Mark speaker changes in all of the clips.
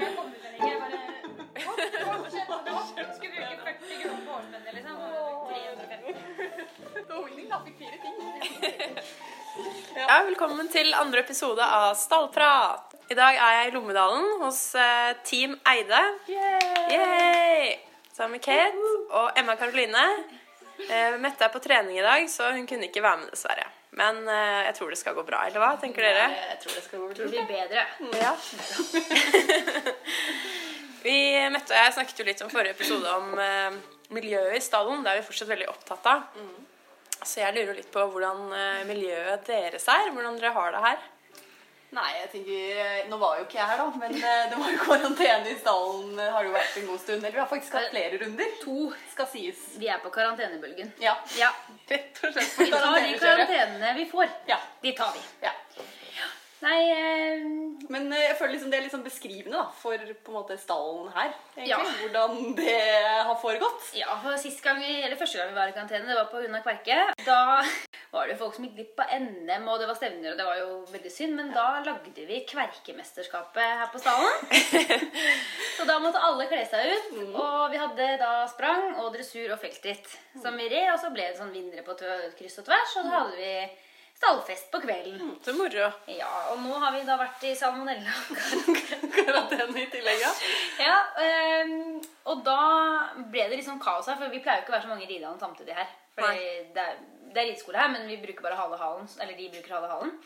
Speaker 1: liksom. til. Han fikk fire ting.
Speaker 2: Ja, velkommen til andre episode av Stallprat. I dag er jeg i Lommedalen hos eh, Team Eide. Yay! Sammen med Kate og Emma Karoline. Eh, Mette er på trening i dag, så hun kunne ikke være med, dessverre. Men eh, jeg tror det skal gå bra, eller hva tenker dere?
Speaker 1: Jeg tror det skal gå til å bli bedre.
Speaker 2: Ja. vi, Mette og jeg snakket jo litt om forrige episode om eh, miljøet i stallen. Det er vi fortsatt veldig opptatt av. Så jeg lurer litt på hvordan eh, miljøet deres er. Hvordan dere har det her.
Speaker 1: Nei, jeg tenker eh, Nå var jo ikke jeg her, da, men eh, det var jo karantene i stallen. eh, Har det jo vært en god stund. Eller vi har faktisk hatt flere runder.
Speaker 3: To.
Speaker 1: Skal sies.
Speaker 3: Vi er på karantenebølgen.
Speaker 1: Ja.
Speaker 3: Ja.
Speaker 1: Rett og slett
Speaker 3: Vi tar de karantenene vi får.
Speaker 1: Ja.
Speaker 3: De tar vi.
Speaker 1: ja.
Speaker 3: Nei eh,
Speaker 1: Men eh, jeg føler liksom det er litt sånn beskrivende da, for på en måte stallen her. egentlig.
Speaker 3: Ja.
Speaker 1: Hvordan det har foregått.
Speaker 3: Ja, for sist gang vi, eller første gang vi var i karantene, det var på Unna Kverke. Da var det jo folk som gikk glipp av NM, og det var stevner, og det var jo veldig synd. Men da lagde vi Kverkemesterskapet her på stallen. Så da måtte alle kle seg ut. Og vi hadde da sprang og dressur og feltritt som vi red. Og så ble det sånn vinnere på tø- kryss og tvers, og så hadde vi stallfest på kvelden.
Speaker 2: Så moro.
Speaker 3: Ja, og nå har vi da vært i salmonella.
Speaker 1: Karantene i tillegg, ja.
Speaker 3: ja, ehm, og da ble det litt sånn kaos her, for vi pleier jo ikke å være så mange ridende samtidig her. Fordi det er, det er rideskole her, men vi bruker bare halve halen. Eller de bruker halve halen.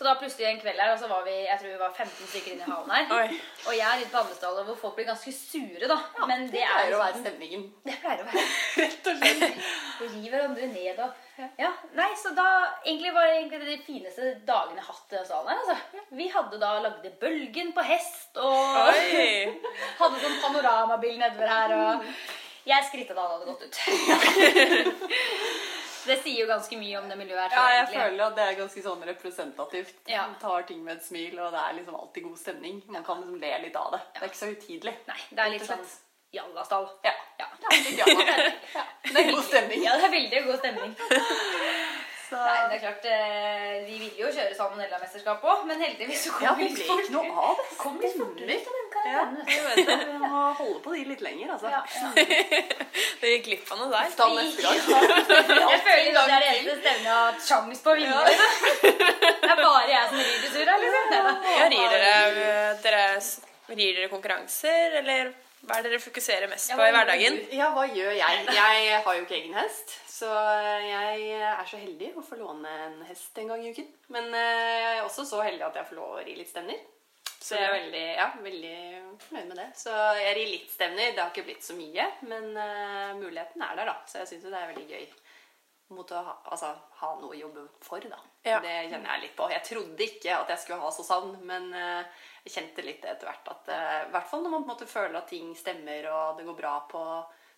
Speaker 3: Så da plutselig en kveld her, og så var vi jeg tror vi var 15 stykker inne i halen her.
Speaker 2: Oi.
Speaker 3: Og jeg er litt på Andesdal, hvor folk blir ganske sure, da. men det, er
Speaker 1: pleier
Speaker 3: jo sånn.
Speaker 1: å være stemningen.
Speaker 3: Det pleier å være
Speaker 1: Rett og slett.
Speaker 3: og river hverandre ned og Ja, nei, så da Egentlig var det egentlig de fineste dagene jeg har hatt i den salen her, altså. Vi hadde da lagde bølgen på hest og
Speaker 2: Oi!
Speaker 3: hadde sånn panoramabil nedover her og Jeg skrittet da han hadde gått ut. det sier jo ganske mye om det miljøet her.
Speaker 1: Ja, jeg
Speaker 3: egentlig.
Speaker 1: føler at det er ganske sånn representativt.
Speaker 3: Ja.
Speaker 1: Man tar ting med et smil, og det er liksom alltid god stemning. Man kan liksom le litt av det. Det er ikke så høytidelig.
Speaker 3: Nei, det er litt
Speaker 1: Rett og
Speaker 3: sånn
Speaker 1: slett.
Speaker 3: jallastall.
Speaker 1: Ja.
Speaker 3: Ja.
Speaker 1: Det er litt jammer. ja. Det er god stemning.
Speaker 3: ja, det er veldig god stemning.
Speaker 1: Så
Speaker 3: Nei, det er klart, eh, Vi ville jo kjøre salmonella-mesterskap òg, men heldigvis så kom
Speaker 1: ja,
Speaker 3: vi
Speaker 1: det
Speaker 3: litt
Speaker 1: blir
Speaker 3: fort
Speaker 1: ikke noe av det.
Speaker 3: kom litt fortere ut av den karantenen.
Speaker 1: Jeg vet det. Vi må holde på de litt lenger, altså.
Speaker 3: Ja, ja.
Speaker 2: Det gikk glipp av noe der.
Speaker 1: Ta neste gang.
Speaker 3: Jeg føler det er det eneste stevnet jeg har hatt sjans på å vinne. Det er bare jeg som rir sur her, liksom. Nei, da.
Speaker 2: Ja, rir dere, eh, dere rir dere konkurranser, eller hva er det dere fokuserer mest
Speaker 3: Ja,
Speaker 2: på
Speaker 3: hva
Speaker 2: i
Speaker 3: gjør
Speaker 2: hverdagen?
Speaker 1: Ja, hva gjør jeg? Jeg har jo ikke egen hest, så jeg er så heldig å få låne en hest en gang i uken. Men eh, jeg er også så heldig at jeg får lov å ri litt stevner. Så jeg er veldig, ja, veldig fornøyd med det. Så jeg rir litt stevner. Det har ikke blitt så mye, men eh, muligheten er der, da. Så jeg syns jo det er veldig gøy mot å ha, altså, ha noe å jobbe for, da.
Speaker 2: Ja.
Speaker 1: Det kjenner jeg litt på. Jeg trodde ikke at jeg skulle ha så savn, men eh, jeg kjente litt det etter hvert at eh, I hvert fall når man på en måte føler at ting stemmer og det går bra på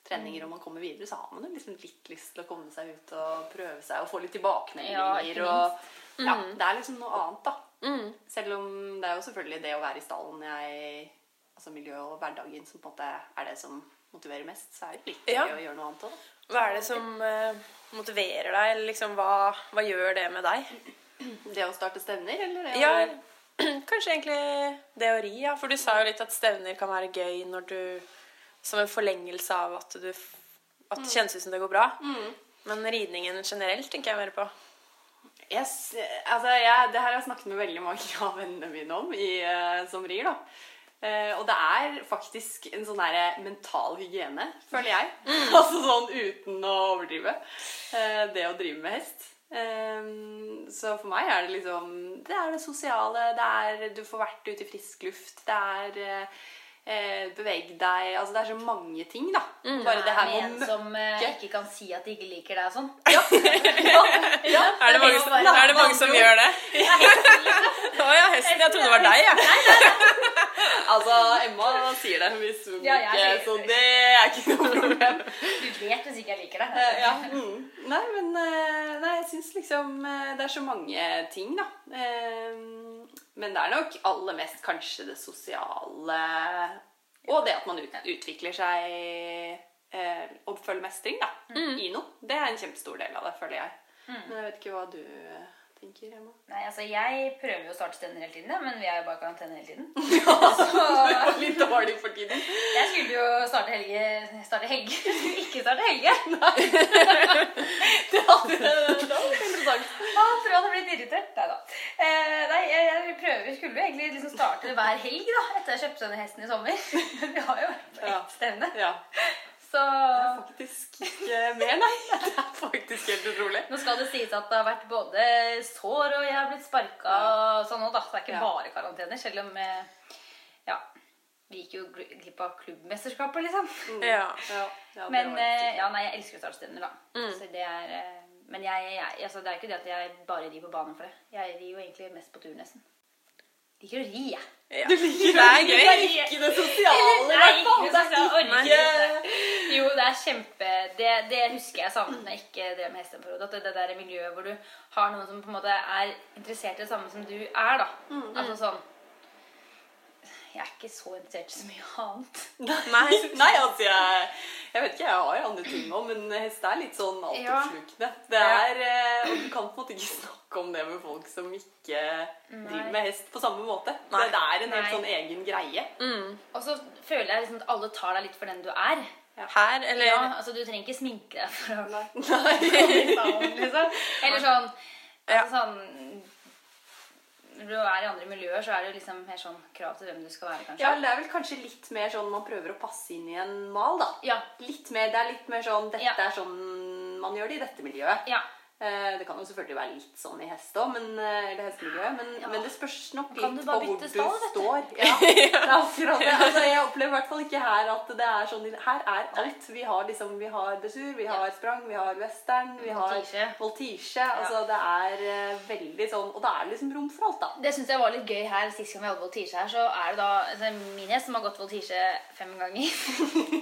Speaker 1: treninger og man kommer videre, så har man jo liksom litt lyst til å komme seg ut og prøve seg og få
Speaker 3: Ja,
Speaker 1: litt
Speaker 3: ikke
Speaker 1: tilbakemeldinger
Speaker 3: minst.
Speaker 1: og Ja, det er liksom noe annet, da.
Speaker 2: Mm.
Speaker 1: Selv om det er jo selvfølgelig det å være i stallen jeg Altså miljø og hverdagen som på en måte er det som motiverer mest, så er det litt gøy
Speaker 2: Ja.
Speaker 1: å gjøre noe annet òg, da.
Speaker 2: Hva er det som eh, motiverer deg? Eller liksom, hva, hva gjør det med deg?
Speaker 1: Det å starte stevner, eller det å
Speaker 2: Ja, kanskje egentlig det å ri, ja. For du sa jo litt at stevner kan være gøy når du Som en forlengelse av at du f- At det kjennes ut som det går bra. Men ridningen generelt tenker jeg mer på.
Speaker 1: Jeg s- altså, jeg, det her har jeg snakket med veldig mange av vennene mine om i, eh, som rir. da. Eh, og det er faktisk en sånn der mental hygiene, føler jeg.
Speaker 3: Mm.
Speaker 1: altså sånn uten å overdrive. eh, det å drive med hest. Eh, så for meg er det liksom Det er det sosiale. Det er Du får vært ute i frisk luft. Det er eh, eh, Beveg deg. Altså det er så mange ting, da. Bare det her
Speaker 3: Mm, med en
Speaker 1: med å
Speaker 3: som eh,
Speaker 1: møkke.
Speaker 3: ikke kan si at de ikke liker deg og sånn.
Speaker 1: ja,
Speaker 2: Er det mange som, er det mange som gjør det? Å ja, hesten. Jeg trodde det var deg, jeg.
Speaker 1: Altså, Emma sier det hvis hun
Speaker 3: Ja, jeg
Speaker 1: ikke
Speaker 3: sier det.
Speaker 1: Så det er ikke noe problem.
Speaker 3: Du vet hvis ikke jeg liker deg.
Speaker 1: Eh, ja. mm. Nei, men eh, nei, jeg syns liksom eh, Det er så mange ting, da. Eh, Men det er nok aller mest kanskje det sosiale og det at man ut, utvikler seg eh, og føler mestring, da. I noe. Det er en kjempestor del av det, føler jeg. Men jeg vet ikke hva du eh, tenker, Emma.
Speaker 3: Nei, altså Jeg prøver jo å starte stevner hele tiden, ja, men vi er jo bare i karantene hele tiden.
Speaker 1: Det
Speaker 3: Så
Speaker 1: var litt dårlig for tiden.
Speaker 3: jeg skulle jo starte helge Starte helge? Ikke starte helge!
Speaker 1: Det hadde,
Speaker 3: Eh, liksom kjøpte denne hesten i sommer. Men vi har jo vært på
Speaker 1: Ja.
Speaker 3: ett stevne.
Speaker 1: Ja.
Speaker 3: Så
Speaker 1: Det er faktisk ikke mer, nei. Det er faktisk helt utrolig.
Speaker 3: nå skal det sies at det har vært både sår, og jeg har blitt sparka og sånn òg, da. Så det er ikke
Speaker 1: Ja.
Speaker 3: bare karantener. Selv om eh, Ja. Vi gikk jo gl- glipp av klubbmesterskapet, liksom.
Speaker 2: Ja.
Speaker 1: Ja, ja, det
Speaker 3: Men
Speaker 1: var Mm.
Speaker 3: eh,
Speaker 1: litt-
Speaker 3: ja, nei, jeg elsker jo startstevner, da. Så det er eh, Men jeg, jeg, altså, det er jo ikke det at jeg bare rir på banen for det. Jeg rir jo egentlig mest på tur, nesten. Liker å ri, jeg.
Speaker 2: ja.
Speaker 1: Du liker
Speaker 2: det er
Speaker 1: jo
Speaker 2: gøy.
Speaker 1: ikke det sosiale, i
Speaker 3: Nei,
Speaker 1: hvert fall.
Speaker 3: ikke
Speaker 1: Det er
Speaker 3: sosiale, orker
Speaker 1: ikke-
Speaker 3: Jo, det er kjempe Det, det husker jeg savnet når jeg ikke drev med hesteperiode. At det, det der miljøet hvor du har noen som på en måte er interessert i det samme som du er, da. Altså sånn Jeg er ikke så interessert i så mye annet.
Speaker 1: Nei, nei, altså jeg, jeg vet ikke, jeg har jo andre ting òg, men hest er litt sånn altoppslukende. Det er, eh, og du kan på en måte ikke snakke om det med folk som ikke driver med hest på samme måte.
Speaker 2: Nei.
Speaker 1: Det, det er en helt
Speaker 3: Nei.
Speaker 1: sånn egen greie.
Speaker 3: Og så føler jeg liksom at alle tar deg litt for den du er.
Speaker 2: Her, eller
Speaker 3: Ja, altså Du trenger ikke sminke deg for å
Speaker 1: Nei.
Speaker 3: liksom. Eller sånn,
Speaker 2: Ja.
Speaker 3: altså, sånn Når du er i andre miljøer, så er det jo liksom mer sånn krav til hvem du skal være, kanskje.
Speaker 1: Ja, det er vel kanskje litt mer sånn man prøver å passe inn i en mal, da.
Speaker 3: Ja.
Speaker 1: Litt mer, det er litt mer sånn Dette
Speaker 3: Ja.
Speaker 1: er sånn man gjør det i dette miljøet.
Speaker 3: ja.
Speaker 1: Eh, Det kan jo selvfølgelig være litt sånn i hest òg, men, eh, eller hestemiljøet, men,
Speaker 3: Ja.
Speaker 1: men det spørs nok
Speaker 3: Kan
Speaker 1: litt
Speaker 3: du
Speaker 1: på
Speaker 3: bare
Speaker 1: hvor du
Speaker 3: bytte stall, vet du?
Speaker 1: står. Ja, det er akkurat det. Altså, jeg opplever i hvert fall ikke her at det er sånn Her er alt. Vi har liksom Vi har dressur, vi har sprang, vi har western, vi har
Speaker 3: Voltige.
Speaker 1: voltige. Altså det er eh, veldig sånn Og det er liksom rom for alt, da.
Speaker 3: Det syns jeg var litt gøy her sist gang vi hadde voltige her. Så er det da altså, min hest som har gått voltige fem ganger.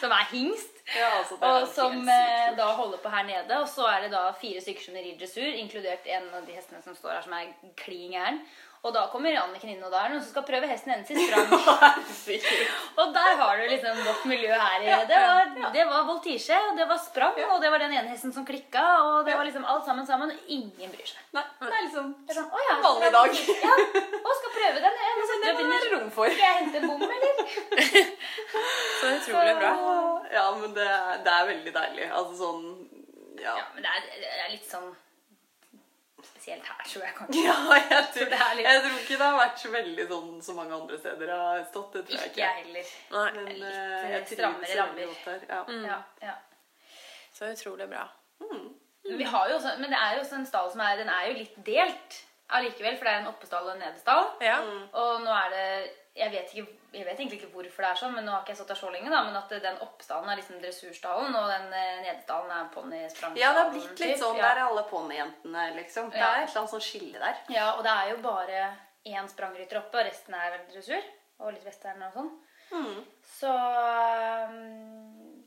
Speaker 3: som er hingst.
Speaker 1: Ja, altså, det er
Speaker 3: Og
Speaker 1: helt
Speaker 3: som
Speaker 1: sykt
Speaker 3: eh,
Speaker 1: kult.
Speaker 3: da holder på her nede. Og så er det da fire stykker som rir dressur, inkludert en av de hestene som står her, som er klin gæren. Og da kommer Anniken inn, og da er det noen som skal prøve hesten hennes i sprang.
Speaker 1: Herregud.
Speaker 3: Og der har du liksom vårt miljø her. i Det var, det var voltige, og det var sprang, og det var den ene hesten som klikka, og det var liksom alt sammen sammen. og Ingen bryr seg.
Speaker 1: Nei, det er liksom
Speaker 3: Det er sånn, å ja,
Speaker 1: Vanlig dag.
Speaker 3: Ja, og skal prøve den. Jeg må sette
Speaker 1: Det
Speaker 3: opp
Speaker 1: må det
Speaker 3: under.
Speaker 1: være rom for.
Speaker 3: Skal jeg hente en bom, eller?
Speaker 2: Så utrolig bra.
Speaker 1: Ja, men det er, det er veldig deilig. Altså sånn Ja.
Speaker 3: Ja, men det er, det er litt sånn spesielt her, tror jeg kanskje.
Speaker 1: Ja, jeg tror,
Speaker 3: det er litt-
Speaker 1: jeg tror ikke det har vært så veldig sånn som mange andre steder har stått. Det tror
Speaker 3: Ikke
Speaker 1: jeg ikke.
Speaker 3: jeg heller.
Speaker 2: Nei,
Speaker 1: Men
Speaker 3: Litt,
Speaker 1: eh,
Speaker 3: eh,
Speaker 1: jeg trives
Speaker 3: strammere
Speaker 1: veldig
Speaker 3: rammer. Mm.
Speaker 1: godt her, Ja.
Speaker 3: Ja, ja.
Speaker 2: så utrolig bra.
Speaker 3: Men, vi har jo også, men det er jo også en stall som er, den er jo litt delt allikevel, for det er en oppestall og en nedestall.
Speaker 2: Ja.
Speaker 3: Og nå er det jeg vet, ikke, jeg vet egentlig ikke hvorfor det er sånn, men nå har ikke jeg stått der så lenge. da, Men at den oppestallen er liksom dressurstallen, og den eh, nedestallen er ponnisprangstallen.
Speaker 1: ja, det har blitt litt sånn.
Speaker 3: typ.
Speaker 1: Der er alle ponnijentene, liksom. Det
Speaker 3: Ja.
Speaker 1: er et eller annet sånn skille der.
Speaker 3: Ja, og det er jo bare én sprangrytter oppe, og resten er vel dressur. Og litt western og sånn.
Speaker 1: Mm.
Speaker 3: Så, um,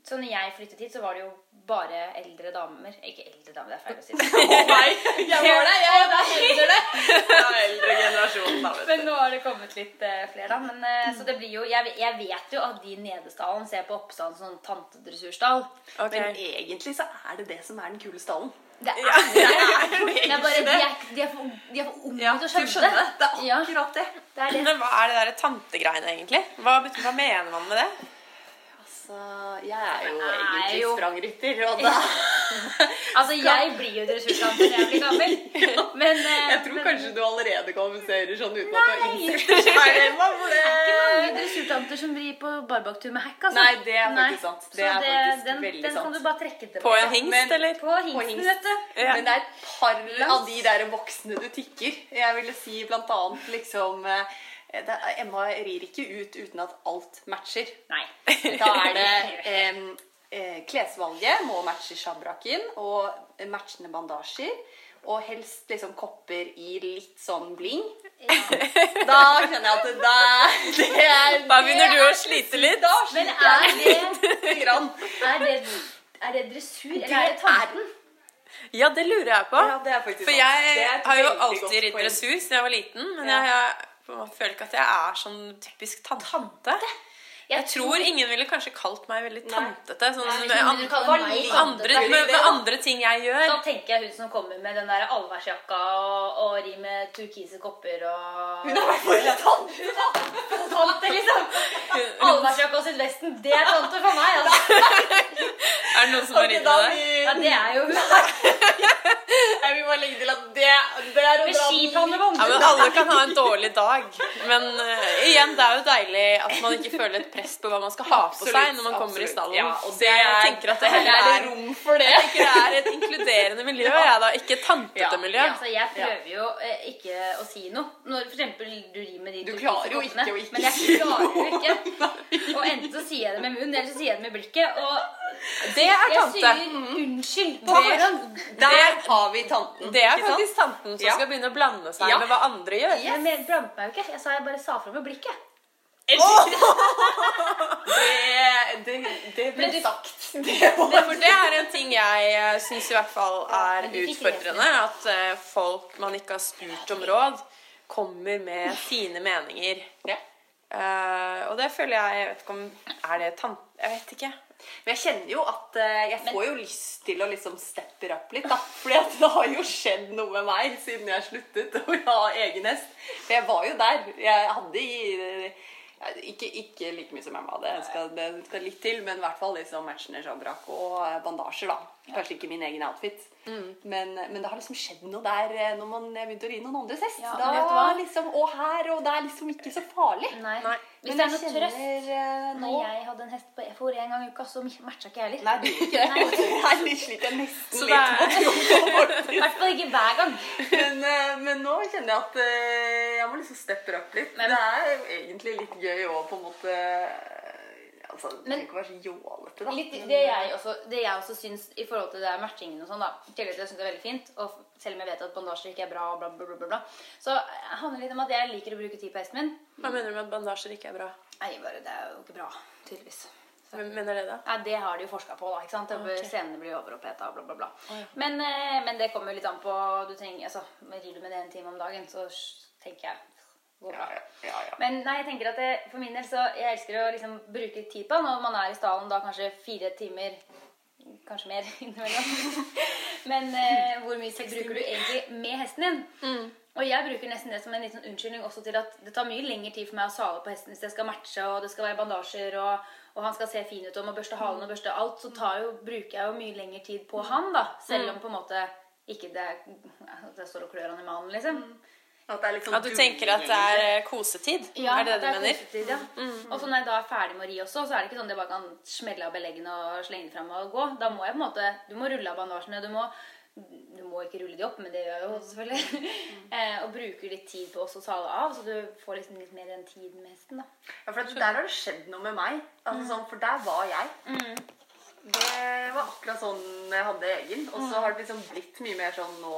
Speaker 3: så når jeg flyttet hit, så var det jo bare eldre damer. Ikke eldre damer, det er feil å si. det.
Speaker 1: Nei, jeg
Speaker 3: var det, jeg var
Speaker 1: eldre. eldre generasjon, da, vet
Speaker 3: Men nå har det kommet litt eh, flere, da. Men, eh, så det blir jo jeg, jeg vet jo at de i Nedesdalen ser på Oppsdalen som sånn tantedressurstall.
Speaker 1: du. Men egentlig så er det det som er den kule stallen.
Speaker 3: Det er,
Speaker 2: Det
Speaker 3: det er bare, de er, de er for, de er for unge
Speaker 1: Ja,
Speaker 3: til å
Speaker 1: til å skjønne. Det er
Speaker 3: Ja,
Speaker 1: akkurat det.
Speaker 3: det er det.
Speaker 2: Men hva er det der tantegreiene, egentlig? Hva, bet- hva mener man med det?
Speaker 1: Altså, jeg er jo
Speaker 3: Jeg er
Speaker 1: egentlig
Speaker 3: jo-
Speaker 1: sprangrytter, og da
Speaker 3: Altså, jeg blir jo dressurtante når jeg blir gammel. Men eh,
Speaker 1: Jeg tror
Speaker 3: men,
Speaker 1: kanskje du allerede kvalifiserer sånn uten at du har
Speaker 3: Nei.
Speaker 1: innsett det selv.
Speaker 3: Det er ikke mange dressurtanter som rir på barbaktur med hekk, altså.
Speaker 1: Nei, det er faktisk sant. Det
Speaker 3: så
Speaker 1: er faktisk
Speaker 3: den,
Speaker 1: veldig
Speaker 3: den
Speaker 1: sant.
Speaker 3: kan du bare trekke tilbake.
Speaker 2: På en hingst,
Speaker 1: Men-
Speaker 2: eller?
Speaker 3: På hingsten,
Speaker 1: hingst.
Speaker 3: vet du.
Speaker 2: Ja.
Speaker 1: Men det er et par av de der voksne du tikker. Jeg ville si blant annet liksom eh, det er, Emma rir ikke ut uten at alt matcher.
Speaker 3: Nei.
Speaker 1: Da er det eh, eh, Klesvalget må matche sjabraken og matchende bandasjer. Og helst liksom kopper i litt sånn bling. Da skjønner jeg at det, da, det er
Speaker 2: Da begynner du å slite litt.
Speaker 1: Da
Speaker 3: Men
Speaker 1: sliter
Speaker 3: er
Speaker 1: jeg
Speaker 3: det,
Speaker 1: lite grann.
Speaker 3: er det, er det dressur, eller
Speaker 1: Det
Speaker 3: er det tanten?
Speaker 2: Ja, det lurer jeg på.
Speaker 1: Ja, det er faktisk
Speaker 2: For
Speaker 1: sant. Det er
Speaker 2: jeg
Speaker 1: et
Speaker 2: har jo
Speaker 1: veldig
Speaker 2: alltid
Speaker 1: godt
Speaker 2: ridd
Speaker 1: poeng.
Speaker 2: dressur siden jeg var liten, men
Speaker 1: Ja.
Speaker 2: jeg, jeg på en måte føler ikke at jeg er sånn typisk tante. Jeg tror ingen ville kanskje kalt meg veldig tantete. Sånn
Speaker 3: hvis
Speaker 2: med,
Speaker 3: noen
Speaker 2: an
Speaker 3: ville kalle meg
Speaker 2: med
Speaker 3: tantete.
Speaker 2: andre, med, med andre ting jeg gjør.
Speaker 3: Da tenker jeg hun som kommer med den der allværsjakka og, og rir med turkise kopper og
Speaker 1: Hun har vært for litt sånn.
Speaker 3: Tante, liksom! Allværsjakka og sydvesten, det er tante for meg, altså.
Speaker 2: Er det noen som har
Speaker 1: Ok,
Speaker 2: ridd
Speaker 1: da
Speaker 2: med deg?
Speaker 1: blir
Speaker 3: Ja, det er jo hun.
Speaker 1: Nei, vi må legge til at det, det er å
Speaker 3: Med
Speaker 1: dra den
Speaker 3: skipannebånd.
Speaker 2: Ja, men Alle kan ha en dårlig dag, men eh, igjen, det er jo deilig at man ikke føler et press på hva man skal ha på seg når man kommer i
Speaker 1: absolutt.
Speaker 2: stallen.
Speaker 1: Ja, og
Speaker 2: Så
Speaker 1: det
Speaker 2: jeg
Speaker 1: er-
Speaker 2: tenker at det
Speaker 1: Det
Speaker 2: heller
Speaker 1: er
Speaker 2: er,
Speaker 1: rom for det.
Speaker 2: jeg tenker det er et inkluderende miljø, jeg da. Ikke et
Speaker 1: Ja,
Speaker 2: tantete miljø.
Speaker 3: Altså, jeg prøver jo eh, ikke å si noe. Når for eksempel du rimer de
Speaker 1: Du
Speaker 3: turkise
Speaker 1: klarer jo
Speaker 3: koppene,
Speaker 1: ikke å ikke
Speaker 3: Men
Speaker 1: si
Speaker 3: jeg klarer jo ikke. Og enten så sier jeg det med munnen, eller så sier jeg det med blikket. Og
Speaker 2: Det er
Speaker 3: jeg
Speaker 2: tante.
Speaker 3: sier unnskyld på
Speaker 1: Mm-hmm. Det-
Speaker 3: forhånd.
Speaker 1: Der har vi tanten.
Speaker 2: Det er
Speaker 1: ikke sant?
Speaker 2: faktisk tanten som
Speaker 1: Ja.
Speaker 2: skal begynne å blande seg
Speaker 1: Ja.
Speaker 2: med hva andre gjør.
Speaker 3: Jeg men- blandet meg jo ikke. Jeg sa jeg bare sa fra med blikket.
Speaker 1: Det, det, det ble
Speaker 3: Men du-
Speaker 1: sagt. Det var
Speaker 2: Ja, For det er en ting jeg syns i hvert fall er
Speaker 3: men du fikk
Speaker 2: utfordrende. At eh, folk man ikke har spurt om råd, kommer med sine meninger.
Speaker 1: Ja.
Speaker 2: Eh, og det føler jeg Jeg vet ikke om Er det tant... Jeg vet ikke.
Speaker 1: Men jeg kjenner jo at eh, jeg får jo lyst til å liksom steppe opp litt, da. Fordi at det har jo skjedd noe med meg siden jeg sluttet å ha egen hest. For jeg var jo der. Jeg hadde i ja, ikke, ikke like mye som jeg hadde, det skal, det skal litt til, men i hvert fall liksom matchende sjabrak og eh, bandasjer, da. Kanskje ikke min egen outfit.
Speaker 3: Mm.
Speaker 1: Men, men det har liksom skjedd noe der eh, når man begynte å ri noen andres hest.
Speaker 3: Ja,
Speaker 1: da
Speaker 3: men vet du hva?
Speaker 1: liksom, Og her, og det er liksom ikke så farlig.
Speaker 3: Nei.
Speaker 2: Nei.
Speaker 3: Hvis
Speaker 1: Men
Speaker 3: det er
Speaker 1: jeg
Speaker 3: noe
Speaker 1: kjenner
Speaker 3: trøst
Speaker 1: eh, nå
Speaker 3: Når jeg hadde en hest på FOR en gang i uka, så matcha ikke jeg heller.
Speaker 1: Nei, det gjorde ikke det. Det er litt slik jeg
Speaker 2: Så
Speaker 1: nesten
Speaker 2: det er-
Speaker 1: litt på troen på
Speaker 3: I
Speaker 1: faktisk.
Speaker 3: hvert fall ikke hver gang.
Speaker 1: Men, eh, men nå kjenner jeg at eh, jeg må liksom steppe opp litt.
Speaker 3: Men-
Speaker 1: det er jo egentlig litt gøy å på en måte eh, Altså, du trenger
Speaker 3: Men-
Speaker 1: ikke å være så jålete, da.
Speaker 3: Litt, det, jeg også, det jeg også syns i forhold til det der matchingen og sånn, da i tillegg til at jeg synes det er veldig fint, og f- selv om jeg vet at bandasjer ikke er bra, og bla, bla, bla, bla, bla så handler det litt om at jeg liker å bruke tid på hesten min.
Speaker 2: Hva mener du med at bandasjer ikke er bra?
Speaker 3: Nei, bare det er jo ikke bra, tydeligvis.
Speaker 2: Hvem mener det, da?
Speaker 3: Nei, Det har de jo forska på, da. ikke sant?
Speaker 2: Ok.
Speaker 3: Scenene blir overoppheta og bla, bla, bla. men, eh, men det kommer jo litt an på du trenger, altså, Rir du med det en time om dagen, så tenker jeg går bra.
Speaker 1: Ja, ja, ja, ja.
Speaker 3: Men nei, jeg tenker at det, for min del så Jeg elsker å liksom bruke tid på det når man er i stallen da kanskje fire timer Kanskje mer innimellom. Men eh, hvor mye tid bruker du egentlig med hesten din?
Speaker 1: Mm.
Speaker 3: Og jeg bruker nesten det som en liten unnskyldning også til at det tar mye lengre tid for meg å sale på hesten hvis jeg skal matche, og det skal være bandasjer, og, og han skal se fin ut, og må børste halen og børste alt, så tar jo, bruker jeg jo mye lengre tid på han, da. Selv
Speaker 1: Mm.
Speaker 3: om på en måte ikke det, er- det står og klør han i manen, liksom.
Speaker 1: Mm. At, det er litt sånn
Speaker 2: At du tenker at det er eh, kosetid?
Speaker 3: Ja,
Speaker 2: er det det du mener?
Speaker 3: kosetid, ja. Mm. Og så når jeg da er ferdig med å ri også, så er det ikke sånn at jeg bare kan smelle av beleggene og slenge fram og gå. Da må jeg på en måte Du må rulle av bandasjene. Du må, du må ikke rulle de opp, men det gjør jeg jo selvfølgelig. eh, og bruker litt tid på også å sale av, så du får liksom litt mer den tiden med hesten, da.
Speaker 1: Ja, for at Der har det skjedd noe med meg. Altså, sånn, for der var jeg. Det var akkurat sånn jeg hadde egen. Og så har det liksom blitt mye mer sånn nå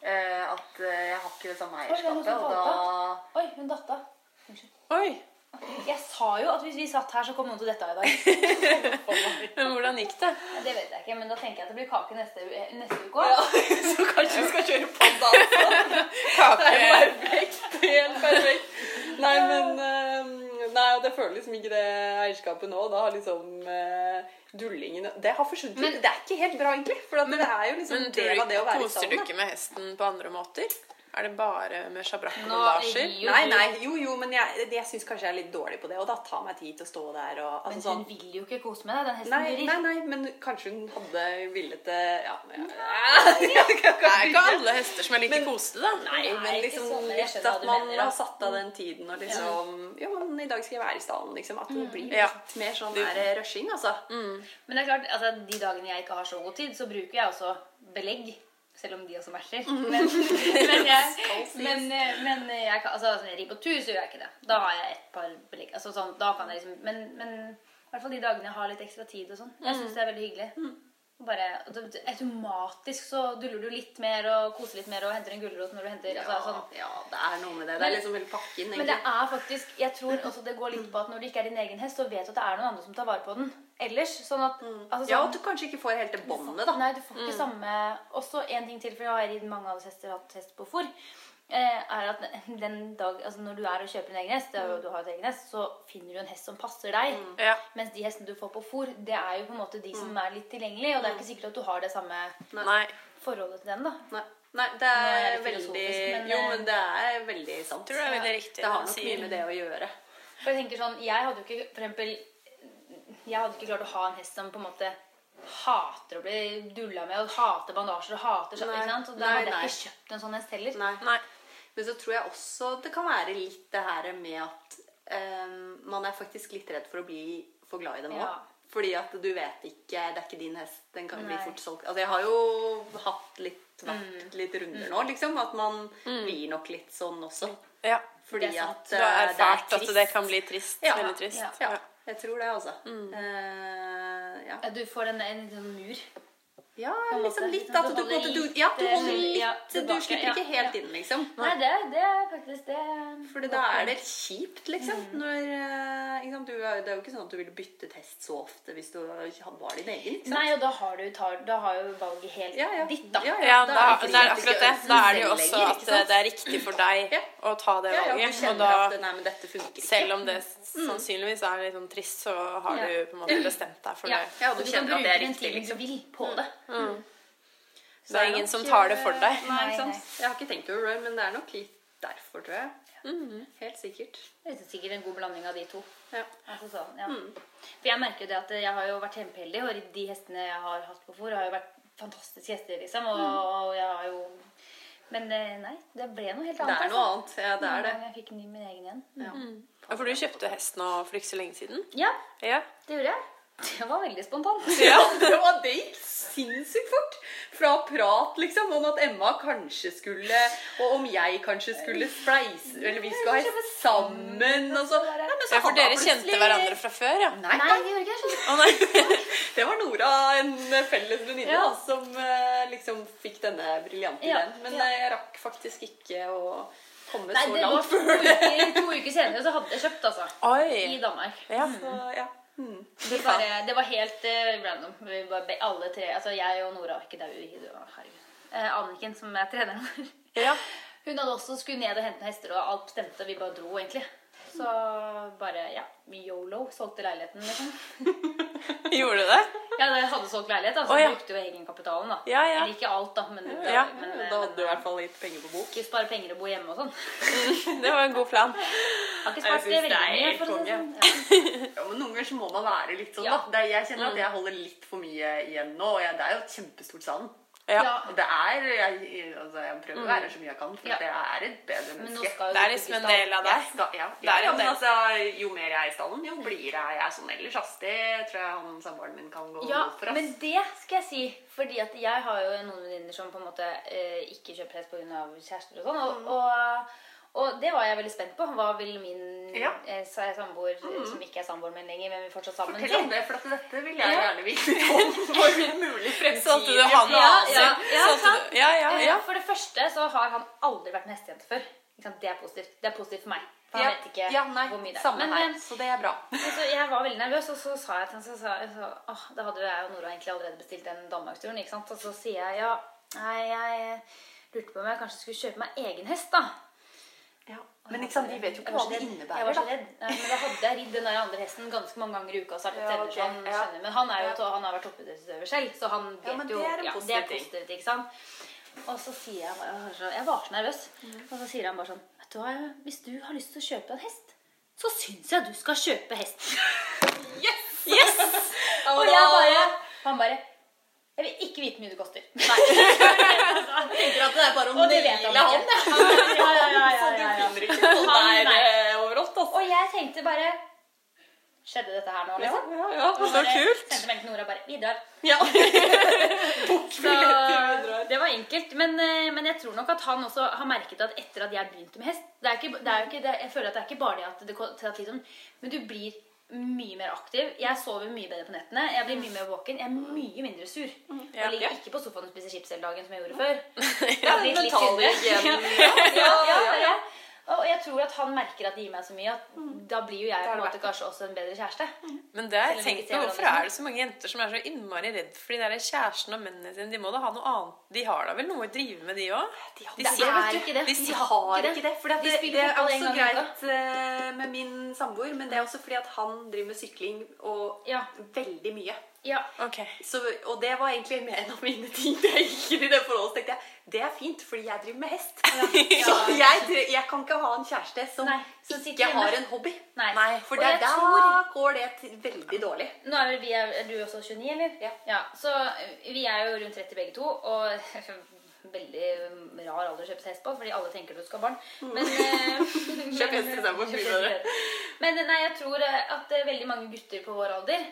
Speaker 1: eh, at eh, jeg har ikke det samme
Speaker 3: det er noe
Speaker 1: eierskapet.
Speaker 3: som
Speaker 1: Og
Speaker 3: falt
Speaker 1: da
Speaker 3: Oi, hun datt av.
Speaker 2: Oi!
Speaker 3: Jeg sa jo at hvis vi satt her, så kom noen til dette i dag.
Speaker 2: Men hvordan gikk det?
Speaker 3: Det vet jeg ikke, men da tenker jeg at det blir kake neste, u- eh, neste uke òg.
Speaker 1: Så kanskje vi skal kjøre panda også?
Speaker 2: Kake
Speaker 1: Perfekt. Helt perfekt. Nei, men eh, Nei, og det føler liksom ikke det eierskapet nå. Da har liksom eh, dullingen Det har forsvunnet. Men det er ikke helt bra, egentlig. For at det er jo liksom
Speaker 2: Men
Speaker 1: del
Speaker 2: tror
Speaker 1: av
Speaker 2: du,
Speaker 1: det å være i
Speaker 2: koser du
Speaker 1: salen. da.
Speaker 2: ikke med hesten på andre måter? Er det bare med sjabrakk og
Speaker 3: Nå
Speaker 2: bandasjer?
Speaker 3: gir jo
Speaker 1: Nei, nei, jo, jo, men jeg, jeg syns kanskje jeg er litt dårlig på det. Og da tar meg tid til å stå der og
Speaker 3: Men
Speaker 1: altså,
Speaker 3: hun
Speaker 1: sånn.
Speaker 3: vil jo ikke kose med deg, den hesten
Speaker 1: Nei,
Speaker 3: du rir.
Speaker 1: nei, nei, men kanskje hun hadde villet det Ja, men jeg, jeg, jeg,
Speaker 2: Det er ikke alle hester som er like
Speaker 1: Men-
Speaker 2: kosete, da.
Speaker 1: Nei,
Speaker 3: Nei,
Speaker 1: men
Speaker 3: ikke
Speaker 1: liksom
Speaker 3: sånn, men jeg
Speaker 1: litt
Speaker 3: skjønner
Speaker 1: at
Speaker 3: hva du
Speaker 1: man
Speaker 3: mener, da.
Speaker 1: har satt av den tiden og liksom Ja, men i dag skal jeg være i stallen, liksom. At det
Speaker 3: Mm.
Speaker 1: blir litt
Speaker 2: Ja.
Speaker 1: mer sånn der rushing, altså.
Speaker 3: Men det er klart, altså, de dagene jeg ikke har så god tid, så bruker jeg også belegg. Selv om de også matcher. Men, men, jeg, men, men jeg, kan- altså, når jeg rir på tur, så gjør jeg ikke det. Da har jeg et par belegg. Altså, sånn, da kan jeg liksom, men, men i hvert fall de dagene jeg har litt ekstra tid og sånn. Jeg
Speaker 1: Mm.
Speaker 3: syns det er veldig hyggelig. Og Bare, og det- automatisk så duller du litt mer og koser litt mer og henter en gulrot når du henter
Speaker 1: Ja,
Speaker 3: altså, sånn.
Speaker 1: ja, det er noe med det. Det er liksom hele pakken,
Speaker 3: Men det
Speaker 1: egentlig.
Speaker 3: er faktisk Jeg tror også det går litt på at når du ikke er din egen hest, så vet du at det er noen andre som tar vare på den ellers. Sånn at altså,
Speaker 1: Mm. Ja,
Speaker 3: sånn-
Speaker 1: at du kanskje ikke får helt det båndet, da. Mm.
Speaker 3: Nei, du får ikke samme Også en ting til, for jeg har ridd mange av oss hester hatt hest på fôr. eh, Er at den dag, altså Når du er og kjøper en egen hest, det
Speaker 1: Mm.
Speaker 3: er jo, du har et egen hest, så finner du en hest som passer deg.
Speaker 2: Ja.
Speaker 3: Mens de hestene du får på fôr, det er jo på en måte de
Speaker 1: Mm.
Speaker 3: som er litt tilgjengelige. Og det er ikke sikkert at du har det samme
Speaker 2: Nei.
Speaker 3: forholdet til den. da
Speaker 1: Nei. Nei, det er,
Speaker 3: er det
Speaker 1: veldig
Speaker 3: filosofisk, men,
Speaker 1: Jo,
Speaker 3: eh,
Speaker 1: men det er veldig sant.
Speaker 2: Tror det er veldig riktig.
Speaker 1: Det har
Speaker 2: å
Speaker 1: nok
Speaker 2: si.
Speaker 1: mye med det å gjøre.
Speaker 3: For Jeg tenker sånn, jeg hadde jo ikke for eksempel, jeg hadde ikke klart å ha en hest som på en måte hater å bli dulla med og hater bandasjer og hater sånn.
Speaker 1: Nei,
Speaker 3: ikke sant? Så da
Speaker 1: nei,
Speaker 3: hadde
Speaker 1: nei.
Speaker 3: jeg ikke kjøpt en sånn hest heller.
Speaker 1: Nei.
Speaker 2: Nei.
Speaker 1: Men så tror jeg også det kan være litt det her med at eh, man er faktisk litt redd for å bli for glad i dem òg.
Speaker 3: Ja.
Speaker 1: Fordi at du vet ikke Det er ikke din hest. Den kan bli
Speaker 3: Nei. Mm.
Speaker 1: fort solgt. Altså, jeg har jo hatt litt vært litt runder nå, liksom. At man blir nok litt sånn også.
Speaker 2: Ja.
Speaker 1: Fordi
Speaker 3: Det er sant.
Speaker 1: at
Speaker 2: Du har
Speaker 1: eh,
Speaker 2: erfart at
Speaker 1: trist.
Speaker 2: det kan bli trist.
Speaker 1: Ja.
Speaker 2: Veldig trist.
Speaker 3: Ja.
Speaker 1: Ja, jeg tror det, altså. Eh, ja.
Speaker 3: Ja, Du får en, en, sånn mur.
Speaker 1: Ja,
Speaker 3: På en
Speaker 1: liksom
Speaker 3: måte.
Speaker 1: litt at du, på
Speaker 3: Du
Speaker 1: en måte,
Speaker 3: holder
Speaker 1: du, ja, du
Speaker 3: litt,
Speaker 1: holder
Speaker 3: eh, ja,
Speaker 1: litt Du
Speaker 3: tilbake,
Speaker 1: slipper
Speaker 3: ja,
Speaker 1: ikke helt
Speaker 3: ja.
Speaker 1: inn, liksom.
Speaker 3: Nei, det, det er faktisk det.
Speaker 1: For da er det kjipt, liksom. Når, eh, ikke sant, du, er- det er jo ikke sånn at du ville byttet hest så ofte hvis du var din egen. Ikke sant?
Speaker 3: Nei, og da har, du, tar, da har jo valget helt
Speaker 1: Ja, ja.
Speaker 3: ditt, da.
Speaker 1: Ja, ja.
Speaker 2: Ja,
Speaker 1: Da
Speaker 2: da,
Speaker 1: er
Speaker 2: det,
Speaker 1: det ikke
Speaker 2: er
Speaker 1: sikkert
Speaker 2: akkurat
Speaker 1: du
Speaker 2: det. Da er det jo
Speaker 1: ønsker
Speaker 2: også
Speaker 1: lenger,
Speaker 2: at
Speaker 1: ikke sant?
Speaker 2: det er riktig for deg
Speaker 1: Ja.
Speaker 2: å ta det
Speaker 1: Ja, ja, du
Speaker 2: valget. Og
Speaker 1: kjenner at eh, Mm.
Speaker 2: da,
Speaker 1: nei, men dette funker ikke.
Speaker 2: selv om det sannsynligvis er litt sånn trist, så har
Speaker 3: Ja.
Speaker 2: du på en måte bestemt deg for
Speaker 3: Ja.
Speaker 2: det.
Speaker 1: Ja, og du
Speaker 3: Og du kan
Speaker 1: kjenner at det
Speaker 3: bruke
Speaker 1: er
Speaker 3: den
Speaker 1: riktig,
Speaker 3: tiden du
Speaker 1: liksom.
Speaker 3: vil på det.
Speaker 2: Det er ingen som tar det for deg.
Speaker 1: Nei,
Speaker 3: Nei,
Speaker 1: ikke sant?
Speaker 3: nei.
Speaker 1: Jeg har ikke tenkt over det, men det er nok litt derfor, tror jeg. Mhm, Helt sikkert.
Speaker 3: Det er sikkert en god blanding av de to.
Speaker 1: Ja.
Speaker 3: Altså sånn, ja.
Speaker 1: Mm.
Speaker 3: For jeg merker jo det at jeg har jo vært kjempeheldig, og de hestene jeg har hatt på fôr, har jo vært fantastiske hester, liksom. Og,
Speaker 1: Mm.
Speaker 3: og jeg har jo Men eh, nei, det ble noe helt
Speaker 1: Det
Speaker 3: annet. altså.
Speaker 1: er noe annet. Ja, det er det.
Speaker 3: Jeg fikk ny min egen igjen.
Speaker 1: Ja.
Speaker 2: Ja, For du kjøpte hest nå for ikke så lenge siden?
Speaker 3: Ja,
Speaker 2: Ja.
Speaker 3: det gjorde jeg. Det var veldig spontant.
Speaker 1: Ja, det, var, det gikk sinnssykt fort. Fra prat liksom om at Emma kanskje skulle Og om jeg kanskje skulle spleise Eller vi skulle ha hest sammen og så Nei, men så
Speaker 2: ja, for
Speaker 1: hadde
Speaker 2: dere
Speaker 1: jeg
Speaker 2: kjente
Speaker 1: plutselig-
Speaker 2: hverandre fra før, ja?
Speaker 1: Nei,
Speaker 3: Nei, det gjorde ikke jeg. skjønner du.
Speaker 2: Å nei.
Speaker 1: det var Nora, en felles venninne,
Speaker 3: Ja.
Speaker 1: da, som eh, liksom fikk denne briljante
Speaker 3: Ja,
Speaker 1: ideen. Men
Speaker 3: ja.
Speaker 1: eh, jeg rakk faktisk ikke å komme
Speaker 3: Nei,
Speaker 1: så
Speaker 3: det var
Speaker 1: langt
Speaker 3: to
Speaker 1: før det.
Speaker 3: uker, to uker senere, så hadde jeg kjøpt, altså. I
Speaker 2: Oi.
Speaker 3: Danmark.
Speaker 2: Ja.
Speaker 1: Så, ja. Mm.
Speaker 3: Vi bare, det var helt eh, random. Vi bare, be- alle tre, altså Jeg og Nora var ikke der. vi- det var- Herregud. Eh, Anniken, som er treneren vår,
Speaker 2: ja.
Speaker 3: hun hadde også skulle ned og hente noen hester, og alt stemte. Vi bare dro, egentlig. Så bare ja, yolo. Solgte leiligheten, liksom.
Speaker 2: Gjorde du det?
Speaker 3: Ja, det hadde solgt leilighet, altså.
Speaker 2: Å, ja.
Speaker 3: Brukte jo egenkapitalen, da.
Speaker 2: Ja, ja.
Speaker 3: Eller ikke alt, da, men,
Speaker 2: Ja,
Speaker 3: men, eh,
Speaker 1: Da hadde du i
Speaker 3: men
Speaker 1: hvert fall litt penger på bok.
Speaker 3: ikke spare penger og bo hjemme og sånn.
Speaker 2: Det var en god plan.
Speaker 3: Har ikke
Speaker 1: Nei, jeg
Speaker 3: spart det
Speaker 1: synes det
Speaker 3: veldig
Speaker 1: er
Speaker 3: mye,
Speaker 1: helt
Speaker 3: for å si det sånn.
Speaker 1: konge.
Speaker 3: Ja.
Speaker 1: Ja, men Noen ganger så må man være litt sånn.
Speaker 3: Ja. Mm.
Speaker 1: da. Det, er- jeg kjenner at jeg holder litt for mye igjen nå. og jeg, Det er jo et kjempestort savn.
Speaker 2: Ja.
Speaker 1: Og Det er, jeg, altså, jeg prøver å være så mye jeg kan, for
Speaker 3: Mm. Ja.
Speaker 1: at jeg er et bedre
Speaker 3: Men nå
Speaker 1: menneske.
Speaker 3: skal jo
Speaker 2: Det er
Speaker 3: du
Speaker 2: liksom
Speaker 3: til
Speaker 2: en del av
Speaker 1: Jeg
Speaker 2: deg.
Speaker 1: skal, ja,
Speaker 2: Det er
Speaker 1: ja,
Speaker 2: en
Speaker 1: men
Speaker 2: del.
Speaker 1: altså, jo mer jeg er i stallen, jo blidere er jeg sånn ellers. ass. Det tror jeg han samboeren min kan gå
Speaker 3: Ja,
Speaker 1: god for. ass.
Speaker 3: men det skal jeg si. Fordi at jeg har jo noen venninner som på en måte eh, ikke kjøper hest pga. kjærester og sånn. Og,
Speaker 1: Mm.
Speaker 3: og, og det var jeg veldig spent på. Hva vil min
Speaker 1: Ja. Mm.
Speaker 3: eh, sa- samboer, eh, som ikke er samboeren min lenger, men vi er fortsatt sammen
Speaker 1: Fortell om
Speaker 3: si?
Speaker 1: det, for at dette vil jeg
Speaker 3: Ja.
Speaker 1: gjerne vite om for mulig fremtidig
Speaker 2: Sånn at du har
Speaker 3: Ja,
Speaker 2: planer.
Speaker 3: ja, ja,
Speaker 2: Sånn at du- Ja, ja,
Speaker 3: Eh,
Speaker 2: ja.
Speaker 3: For det første så har han aldri vært en hestejente før. Ikke sant? Det er positivt. Det er positivt for meg. For han
Speaker 1: Ja,
Speaker 3: vet ikke
Speaker 1: ja, nei,
Speaker 3: hvor mye det er.
Speaker 1: Samme
Speaker 3: Men, eh,
Speaker 1: her,
Speaker 3: men,
Speaker 1: så det er bra.
Speaker 3: så jeg var veldig nervøs, og så sa jeg til ham så sa, jeg- så, åh, Da hadde jo jeg og Nora egentlig allerede bestilt den Danmarksturen. ikke sant? Og så sier jeg ja, nei, jeg lurte på om jeg kanskje skulle kjøpe meg egen hest, da.
Speaker 1: Ja. Men ikke sant, de vet jo
Speaker 3: Altså, Jeg
Speaker 1: ikke
Speaker 3: var så redd. Jeg
Speaker 1: hva det innebærer.
Speaker 3: var så
Speaker 1: da.
Speaker 3: redd. Nei, men da hadde jeg ridd den der andre hesten ganske mange ganger i uka. så er det
Speaker 1: Ja,
Speaker 3: tenner,
Speaker 1: ok.
Speaker 3: så han
Speaker 1: Ja.
Speaker 3: skjønner. Men han, er jo,
Speaker 1: Ja.
Speaker 3: to- han har vært toppidrettsutøver selv, så han vet
Speaker 1: Ja, men
Speaker 3: jo
Speaker 1: det er en
Speaker 3: ja,
Speaker 1: positiv
Speaker 3: det er
Speaker 1: ting.
Speaker 3: positivt. ikke sant? Og så sier jeg bare så- Jeg var så nervøs.
Speaker 1: Mm.
Speaker 3: Og så sier han bare sånn Vet du hva, hvis du har lyst til å kjøpe en hest, så syns jeg du skal kjøpe hest.
Speaker 2: Yes!
Speaker 3: Og jeg bare Han bare Jeg vil ikke vite hvor mye det koster. Altså,
Speaker 1: tenker at det er bare
Speaker 3: Og det vet han
Speaker 1: naile
Speaker 3: ikke. Ja, ja, ja, ja,
Speaker 1: Så du
Speaker 3: ja, ja.
Speaker 1: finner ikke noe
Speaker 3: Han-
Speaker 1: der
Speaker 3: nei.
Speaker 1: eh, overalt, altså.
Speaker 3: Og jeg tenkte bare Skjedde dette her nå,
Speaker 1: Ja,
Speaker 3: liksom?
Speaker 1: ja, ja.
Speaker 3: Og
Speaker 2: Så
Speaker 3: bare
Speaker 2: kult.
Speaker 3: Sendte melding til Nora bare Vi drar.
Speaker 1: Ja.
Speaker 3: Så
Speaker 1: Bokbilletter vi drar.
Speaker 3: det var enkelt. Men, eh, men jeg tror nok at han også har merket at etter at jeg begynte med hest det er ikke, det er jo ikke, det, Jeg føler at det er ikke bare det at det ko- tar tid, sånn, men du blir mye mer aktiv. Jeg sover mye bedre på nettene. Jeg blir mye mer våken. Jeg er mye mindre sur.
Speaker 1: Mm.
Speaker 2: Ja.
Speaker 3: Jeg ligger ikke på sofaen og spiser chips hele dagen som jeg gjorde før. Jeg
Speaker 1: Ja,
Speaker 3: har blitt litt
Speaker 1: mental
Speaker 3: sunnere.
Speaker 1: hygiene.
Speaker 3: ja, ja, det er det. Og jeg tror at han merker at det gir meg så mye at Mm. da blir jo jeg på en måte kanskje også en bedre kjæreste.
Speaker 2: Men det har jeg
Speaker 3: Selv om de ikke
Speaker 2: tenkt
Speaker 3: ser
Speaker 2: på.
Speaker 3: hverandre
Speaker 2: Hvorfor
Speaker 3: sånn.
Speaker 2: er det så mange jenter som er så innmari redd for de der kjæresten og mennene sine? De må da ha noe annet. De har da vel noe å drive med, de òg?
Speaker 1: De har-
Speaker 2: De
Speaker 1: det
Speaker 2: sier-
Speaker 1: er-
Speaker 3: vet du ikke det.
Speaker 2: de
Speaker 1: De
Speaker 2: sier-
Speaker 1: har
Speaker 3: ikke det.
Speaker 1: ikke det. For det,
Speaker 3: De
Speaker 1: det,
Speaker 3: spiller
Speaker 1: det er
Speaker 3: fotball en
Speaker 1: også
Speaker 3: gang i
Speaker 1: greit eh, med min samboer, men det er også fordi at han driver med sykling og
Speaker 3: Ja.
Speaker 1: veldig mye.
Speaker 3: Ja.
Speaker 2: Ok.
Speaker 1: Så, og det var egentlig mer en av mine ting da jeg gikk inn i det forholdet. så tenkte jeg, Det er fint, fordi jeg driver med hest.
Speaker 3: Ja.
Speaker 1: Så jeg, dri- jeg kan ikke ha en kjæreste som
Speaker 3: Nei, som sitter
Speaker 1: ikke
Speaker 3: hjemme.
Speaker 1: har en hobby.
Speaker 3: Nei.
Speaker 1: For
Speaker 3: Og
Speaker 1: det,
Speaker 3: jeg
Speaker 1: der
Speaker 3: tror-
Speaker 1: går det til veldig dårlig.
Speaker 3: Nå er, vel vi, er du også 29, eller?
Speaker 1: Ja.
Speaker 3: Så eh, vi er jo rundt 30 begge to, og veldig eh, rar alder å kjøpe seg hest på, fordi alle tenker du skal ha barn. Men, eh,
Speaker 1: Kjøp hest
Speaker 3: men-
Speaker 1: istedenfor,
Speaker 3: kjøp
Speaker 1: mye
Speaker 3: hest
Speaker 1: bedre.
Speaker 3: istedenfor. Men eh, nei, jeg tror eh, at eh, veldig mange gutter på vår alder,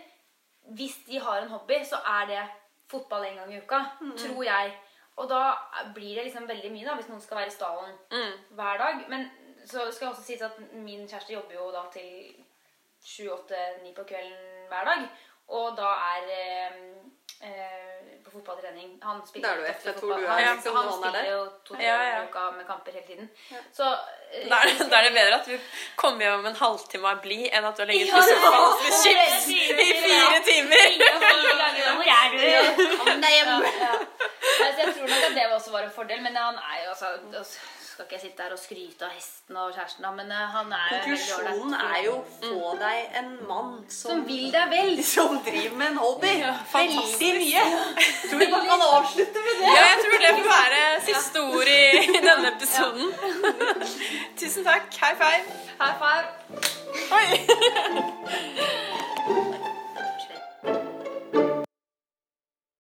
Speaker 3: hvis de har en hobby, så er det fotball en gang i uka, tror jeg. Og da blir det liksom veldig mye, da, hvis noen skal være i stallen hver dag. Men så skal jeg også sies at min kjæreste jobber jo da til sju, åtte, ni på kvelden hver dag. Og da er eh, eh, på fotballtrening Han
Speaker 1: Da
Speaker 3: spiller
Speaker 1: er du
Speaker 3: jo
Speaker 1: etter,
Speaker 3: ofte
Speaker 1: tror du
Speaker 3: fotball.
Speaker 1: er
Speaker 3: Han,
Speaker 1: liksom
Speaker 3: han
Speaker 1: noen er der?
Speaker 3: spiller jo to
Speaker 2: Ja,
Speaker 3: ja,
Speaker 2: ja.
Speaker 3: uka med kamper hele tiden. Så eh,
Speaker 2: Da er, det, da er det bedre at du kommer hjem om en halvtime og er blid, enn at du har ligget og
Speaker 3: Ja,
Speaker 2: spist
Speaker 3: det er-
Speaker 2: fast med chips i fire timer.
Speaker 3: Hvor er du? Ja, ja.
Speaker 1: hjem.
Speaker 3: Nei, så Jeg tror nok at det også var en fordel, men han er jo altså altså, Skal ikke jeg sitte her og skryte av hesten og kjæresten, da, men eh, han er jo en veldig ålreit
Speaker 1: Konklusjonen
Speaker 3: fyr.
Speaker 1: er Mm. jo få deg en mann som,
Speaker 3: Som vil deg vel.
Speaker 1: som driver med en hobby.
Speaker 2: fantastisk.
Speaker 1: Veldig mye. Tror vi bare kan avslutte med det.
Speaker 2: Ja, jeg tror det får være siste ord i i denne episoden. Tusen takk. High five.
Speaker 3: High five.
Speaker 2: Oi.